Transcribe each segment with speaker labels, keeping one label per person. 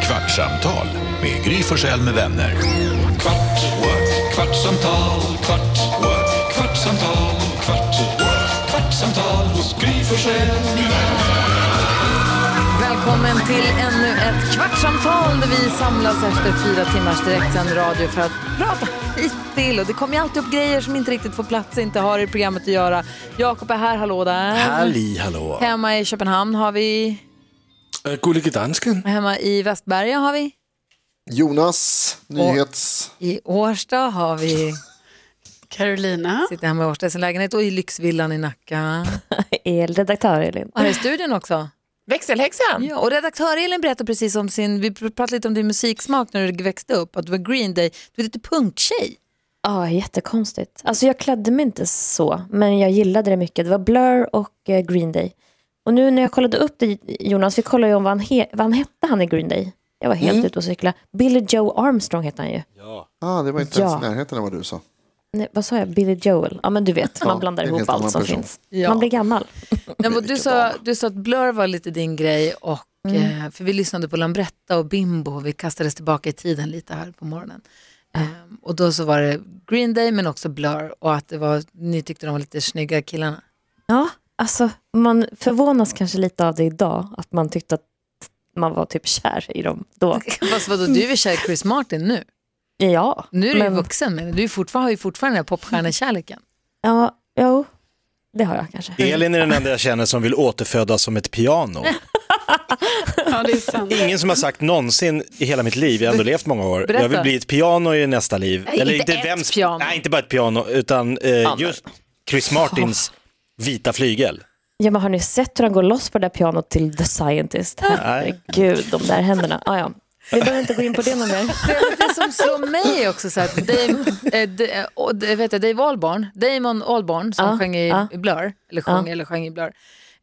Speaker 1: Kvartsamtal med Gry Forssell med vänner. Kvart, what? kvartsamtal, kvart, what? kvartsamtal, kvart, what? kvartsamtal hos Gry Forssell med vänner.
Speaker 2: Välkommen till ännu ett kvartsamtal där vi samlas efter fyra timmars direktsänd radio för att prata hit till. Och det kommer ju alltid upp grejer som inte riktigt får plats, inte har i programmet att göra. Jakob är här, hallå där.
Speaker 3: Halli hallå!
Speaker 2: Hemma i Köpenhamn har vi,
Speaker 3: Äh, Gullige dansken.
Speaker 2: hemma i Västberga har vi,
Speaker 4: Jonas, nyhets...
Speaker 2: i Årsta har vi,
Speaker 5: Carolina.
Speaker 2: sitter hemma i Årsta i sin lägenhet och i lyxvillan i Nacka.
Speaker 6: elredaktör Elin.
Speaker 2: Och här i studion också.
Speaker 7: Växelhäxan?
Speaker 2: Ja, och redaktör Elin berättade precis om sin, vi pratade lite om din musiksmak när du växte upp, att du var Green Day, du är lite punktjej.
Speaker 6: Ja, jättekonstigt. Alltså jag klädde mig inte så, men jag gillade det mycket. Det var Blur och eh, Green Day. Och nu när jag kollade upp det, Jonas, vi kollade ju om vad han, he- vad han hette han i Green Day. Jag var helt ute och cykla. Billy Joe Armstrong hette han ju.
Speaker 4: Ah, det var inte
Speaker 6: Ja.
Speaker 4: ens i närheten av vad du sa.
Speaker 6: Nej, vad sa jag? Billy Joel? Ja, men du vet, man blandar
Speaker 4: det är en
Speaker 6: ihop
Speaker 4: helt annan
Speaker 6: allt som
Speaker 4: person.
Speaker 6: finns.
Speaker 2: Ja.
Speaker 6: Man blir gammal.
Speaker 2: Nej, men du, sa, du sa att Blur var lite din grej, och, eh, för vi lyssnade på Lambretta och Bimbo, och vi kastades tillbaka i tiden lite här på morgonen. Ehm, och då så var det Green Day men också Blur och att det var, ni tyckte de var lite snygga killarna.
Speaker 6: Ja, alltså man förvånas kanske lite av det idag, att man tyckte att man var typ kär i dem då.
Speaker 2: Fast vadå, du är kär i Chris Martin nu?
Speaker 6: Ja,
Speaker 2: Nu är du
Speaker 6: men-
Speaker 2: ju vuxen men du är fortfarande, har ju fortfarande den här popstjärnekärleken.
Speaker 6: ja, jo, det har jag kanske.
Speaker 8: Elin är den enda jag känner som vill återfödas som ett piano.
Speaker 5: Ja, det är sant.
Speaker 8: Ingen som har sagt någonsin i hela mitt liv, jag har ändå levt många år,
Speaker 2: Berätta.
Speaker 8: jag vill bli ett piano i nästa liv.
Speaker 2: Nej, inte ett piano.
Speaker 8: Nej, inte bara ett piano, utan eh, just Chris Martins vita flygel.
Speaker 6: Ja, men har ni sett hur han går loss på det där pianot till The Scientist? Herregud, de där händerna. Ah, ja. Vi behöver inte gå in på det någon mer.
Speaker 2: Det som slår mig är också så att Dave, eh, D- och, D- vet jag, Dave Albarn, Damon Albarn som
Speaker 6: Ja,
Speaker 2: sjöng i
Speaker 6: ja.
Speaker 2: i Blur, eller sjöng, eller sjöng i Blur,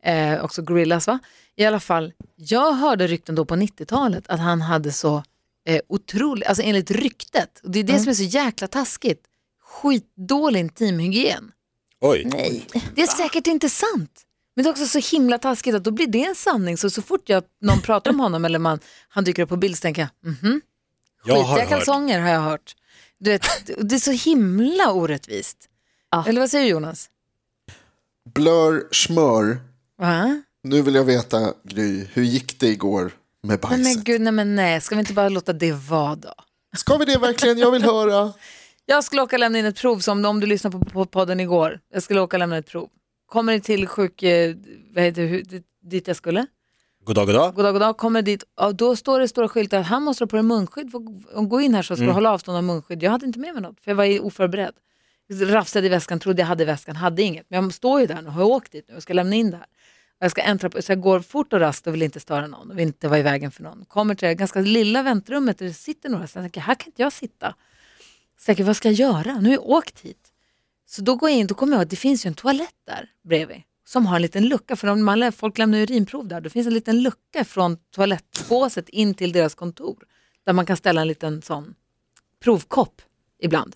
Speaker 2: eh, också Gorillaz va? I alla fall, jag hörde rykten då på 90-talet att han hade så eh, otroligt, alltså enligt ryktet, och det är det som är så jäkla taskigt, skitdålig intimhygien.
Speaker 8: Oj.
Speaker 2: Det är säkert inte sant. Men det är också så himla taskigt att då blir det en sanning. Så, så fort jag, någon pratar om honom eller man, han dyker upp på bild så tänker jag, mhm,
Speaker 8: Jag har
Speaker 2: Skitiga
Speaker 8: hört.
Speaker 2: kalsonger har jag hört. Du vet, det är så himla orättvist.
Speaker 6: Ja.
Speaker 2: Eller vad säger du Jonas?
Speaker 4: Blör, smör.
Speaker 2: Va?
Speaker 4: Nu vill jag veta, Gry, hur gick det igår med
Speaker 2: Nej
Speaker 4: bajset?
Speaker 2: men gud, nej men nej, ska vi inte bara låta det vara då?
Speaker 4: Ska vi det verkligen? Jag vill höra.
Speaker 2: Jag skulle åka och lämna in ett prov som om du lyssnade på, på podden igår. Jag skulle åka och lämna ett prov. Kommer det till sjuk... eh, Vad heter, det, hu- dit- dit jag skulle?
Speaker 8: Goddag, goddag.
Speaker 2: God dag, god dag. Kommer dit, ja, då står det stora skyltar att han måste ha på dig munskydd. För att gå in här så ska du hålla avstånd av munskydd. Jag hade inte med mig något, för jag var ju oförberedd. Rafsade i väskan, trodde jag hade i väskan, hade inget. Men jag står ju där nu, har jag åkt dit nu och ska lämna in det här. Och Jag ska ändra på, så jag går fort och rast och vill inte störa någon och vill inte vara i vägen för någon. Kommer till det här ganska lilla väntrummet där det sitter några, så jag tänker, här kan inte jag sitta. Så jag tänker, vad ska jag göra? Nu har jag åkt hit. Så då går jag in, då kommer jag ihåg att det finns ju en toalett där bredvid som har en liten lucka, för om man, lä- folk lämnar ju urinprov där, då finns en liten lucka från toalettbåset in till deras kontor där man kan ställa en liten sån provkopp ibland.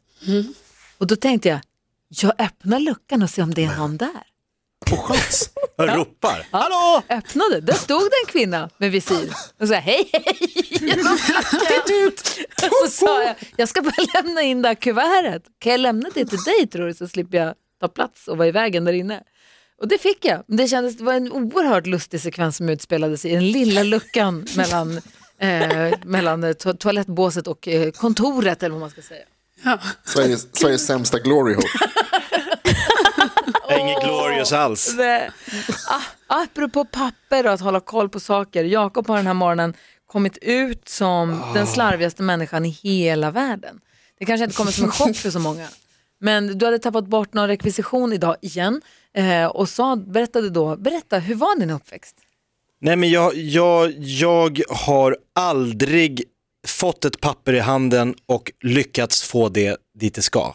Speaker 2: Och då tänkte jag, jag öppnar luckan och ser om det är någon där.
Speaker 8: Jag ropar.
Speaker 2: Öppnade, där stod det en kvinna med visir och sa hej hej. genom luckan. Så sa jag, jag ska bara lämna in det här kuvertet. Kan jag lämna det till dig tror du så slipper jag ta plats och vara i vägen där inne. Och det fick jag. Men det kändes, det var en oerhört lustig sekvens som utspelade sig i den lilla luckan mellan, eh, mellan eh, to- toalettbåset och eh, kontoret eller vad man ska säga.
Speaker 4: Sveriges, Sveriges sämsta glory hole.
Speaker 8: Jag är Inget glorious alls.
Speaker 2: Det, ah, apropå papper och att hålla koll på saker. Jakob har den här morgonen kommit ut som den slarvigaste människan i hela världen. Det kanske inte kommer som en chock för så många. Men du hade tappat bort någon rekvisition idag igen eh, och sa, berättade då, berätta, hur var din uppväxt?
Speaker 8: Nej, men jag, jag, jag har aldrig fått ett papper i handen och lyckats få det dit det ska.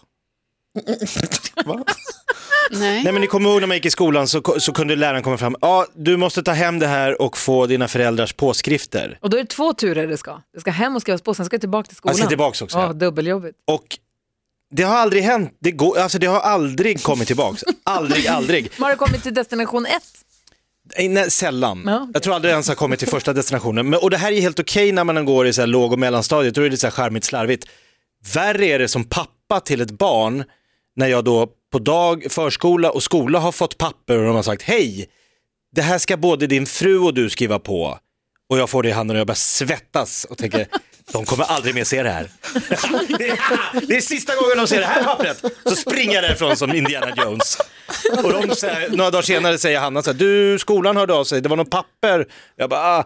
Speaker 5: Nej.
Speaker 8: Nej men ni kommer ihåg när man gick i skolan så, så kunde läraren komma fram, ja du måste ta hem det här och få dina föräldrars påskrifter.
Speaker 2: Och då är det två turer det ska. Det ska hem och skrivas på, sen ska jag tillbaka till skolan.
Speaker 8: Jag ska tillbaks också.
Speaker 2: Ja, dubbeljobbigt.
Speaker 8: Och det har aldrig hänt, det, går, alltså, det har aldrig kommit tillbaks. Aldrig, aldrig.
Speaker 2: Man har kommit till destination ett.
Speaker 8: Eh, Nej, sällan.
Speaker 2: Ja, okej.
Speaker 8: Jag tror aldrig ens har kommit till första destinationen. Men, och det här är helt okej när man går i så här låg och mellanstadiet, då är det så här charmigt slarvigt. Värre är det som pappa till ett barn, när jag då på dag, förskola och skola har fått papper och de har sagt hej, det här ska både din fru och du skriva på. Och jag får det i handen och jag börjar svettas och tänker, de kommer aldrig mer se det här. Det är, det är sista gången de ser det här pappret. Så springer jag därifrån som Indiana Jones. Och de, så här, några dagar senare säger Hanna så här, du skolan hörde av sig, det var något papper. Jag bara, ah,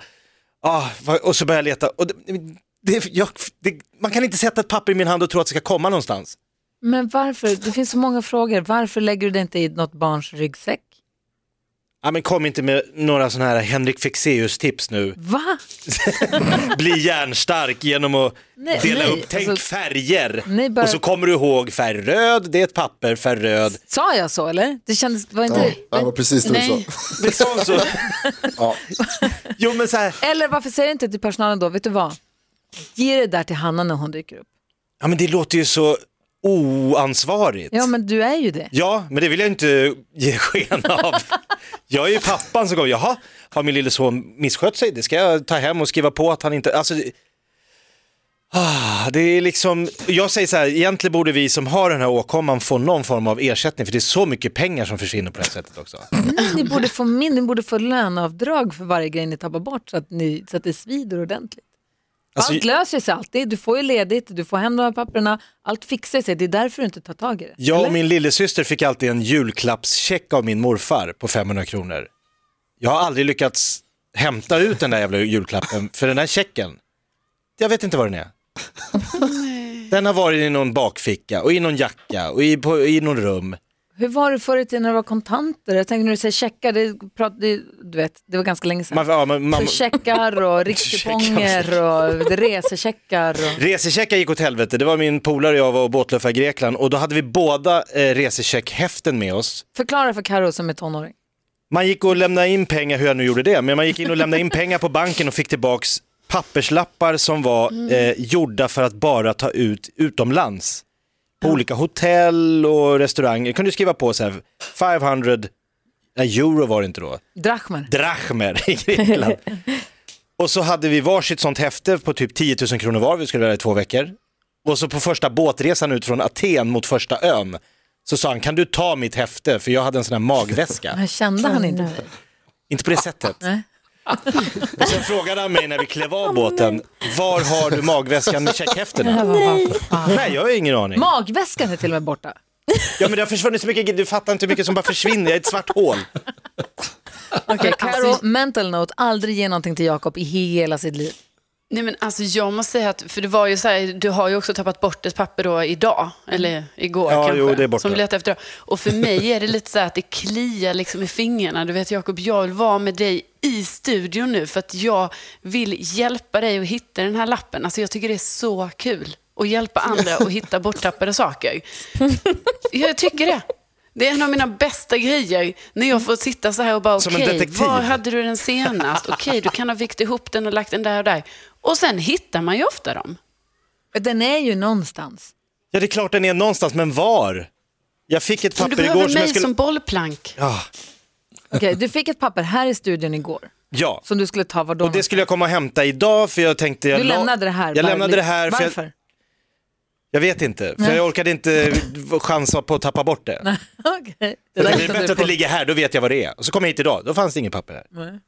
Speaker 8: ah, vad- och så börjar jag leta. Och det, det, jag, det, man kan inte sätta ett papper i min hand och tro att det ska komma någonstans.
Speaker 2: Men varför? Det finns så många frågor. Varför lägger du det inte i något barns ryggsäck?
Speaker 8: Ja, men kom inte med några sådana här Henrik Fexeus tips nu.
Speaker 2: Va?
Speaker 8: Bli järnstark genom att
Speaker 2: Nej,
Speaker 8: dela
Speaker 2: nej,
Speaker 8: upp, tänk
Speaker 2: alltså-
Speaker 8: färger.
Speaker 2: Nej, bara-
Speaker 8: Och så kommer du ihåg färg röd, det är ett papper, färg röd.
Speaker 2: Sa jag så eller? Det kändes, var
Speaker 4: Ja,
Speaker 2: inte...
Speaker 4: det var precis det du sa.
Speaker 5: Nej.
Speaker 8: Liksom så.
Speaker 4: Ja.
Speaker 8: Jo men så här,
Speaker 2: Eller varför säger du inte till personalen då, vet du vad? Ge det där till Hanna när hon dyker upp.
Speaker 8: ja, men det låter ju så oansvarigt.
Speaker 2: Ja, men du är ju det.
Speaker 8: Ja, men det vill jag inte ge sken av. Jag är ju pappan som kommer, jaha, har min lille son misskött sig? Det ska jag ta hem och skriva på att han inte, alltså, det- ah, det är liksom, jag säger så här, egentligen borde vi som har den här åkomman få någon form av ersättning, för det är så mycket pengar som försvinner på det här sättet också. Mm.
Speaker 2: Nej, ni borde få min, ni borde få löneavdrag för varje grej ni tappar bort så att, ni, så att det svider ordentligt.
Speaker 8: Alltså,
Speaker 2: allt löser sig alltid, du får ju ledigt, du får hem de här papperna, allt fixar sig, det är därför du inte tar tag i det.
Speaker 8: jag och
Speaker 2: Eller?
Speaker 8: min lillasyster fick alltid en julklappscheck av min morfar på 500 kronor. Jag har aldrig lyckats hämta ut den där jävla julklappen, för den där checken, jag vet inte vad den är. Den har varit i någon bakficka och i någon jacka och i, på, i någon rum.
Speaker 2: Hur var det förr i tiden när det var kontanter? Jag tänker när du säger checkar, det, prat, det, du vet, det var ganska länge sedan.
Speaker 8: Man, ja, men man,
Speaker 2: Så checkar och rikskuponger och resecheckar. Och...
Speaker 8: resecheckar gick åt helvete, det var min polare och jag var och båtluffade i Grekland och då hade vi båda eh, resecheckhäften med oss.
Speaker 2: Förklara för Karo som är tonåring.
Speaker 8: Man gick och lämnade in pengar, hur jag nu gjorde det, men man gick in och lämnade in pengar på banken och fick tillbaks papperslappar som var eh, gjorda för att bara ta ut utomlands. På olika hotell och restauranger. Jag kunde skriva på så här 500, nej euro var det inte då.
Speaker 2: Drachmer.
Speaker 8: drachmer i Grekland. Och så hade vi varsitt sånt häfte på typ 10 000 kronor var, vi skulle vara där i två veckor. Och så på första båtresan ut från Aten mot första ön så sa han, kan du ta mitt häfte? För jag hade en sån här magväska.
Speaker 2: Men kände han inte?
Speaker 8: Inte på det sättet.
Speaker 2: Nej.
Speaker 8: Och sen frågade han mig när vi klev av båten, var har du magväskan med checkhäftena?
Speaker 2: Nej.
Speaker 8: Nej, jag har ingen aning.
Speaker 2: Magväskan är till och med borta.
Speaker 8: Ja men det har försvunnit så mycket, du fattar inte hur mycket som bara försvinner, jag är ett svart hål.
Speaker 2: Okej,
Speaker 5: Alltså,
Speaker 2: Karo, Alltså, mental note, aldrig ge någonting till Jakob i hela sitt liv.
Speaker 5: Nej, men alltså jag måste säga att, för det var ju så här, du har ju också tappat bort ett papper då idag, eller igår
Speaker 8: Ja,
Speaker 5: kanske,
Speaker 8: jo, det är borta.
Speaker 5: som du letade efter. då. Och för mig är det lite så här att det kliar liksom i fingrarna. Du vet Jakob, jag vill vara med dig i studion nu för att jag vill hjälpa dig att hitta den här lappen. Alltså jag tycker det är så kul att hjälpa andra att hitta borttappade saker. Jag tycker det. Det är en av mina bästa grejer, när jag får sitta så här och bara,
Speaker 8: Som en
Speaker 5: okej,
Speaker 8: detektiv.
Speaker 5: var hade du den senast? Okej, du kan ha vikt ihop den och lagt den där och där. Och sen hittar man ju ofta dem.
Speaker 2: Den är ju någonstans.
Speaker 8: Ja det är klart den är någonstans, men var? Jag fick ett
Speaker 5: Men du
Speaker 8: papper
Speaker 5: behöver
Speaker 8: igår
Speaker 5: mig
Speaker 8: som jag skulle...
Speaker 5: som bollplank.
Speaker 8: Ja.
Speaker 2: Okej, du fick ett papper här i studion igår
Speaker 8: Ja,
Speaker 2: som du skulle ta var då.
Speaker 8: och det skulle jag komma och hämta idag för jag tänkte... Jag
Speaker 2: Du
Speaker 8: la-
Speaker 2: lämnade det här.
Speaker 8: Jag
Speaker 2: bara- liksom.
Speaker 8: lämnade det här för
Speaker 2: Varför?
Speaker 8: jag, jag vet inte, för jag orkade inte chansa på att tappa bort det.
Speaker 2: Okej.
Speaker 8: Jag
Speaker 2: där
Speaker 8: tänkte, det är
Speaker 2: hittade
Speaker 8: bättre
Speaker 2: du
Speaker 8: att det
Speaker 2: på.
Speaker 8: ligger här, då vet jag vad det är. Och så kom jag hit idag, då fanns det inget papper här.
Speaker 2: Nej.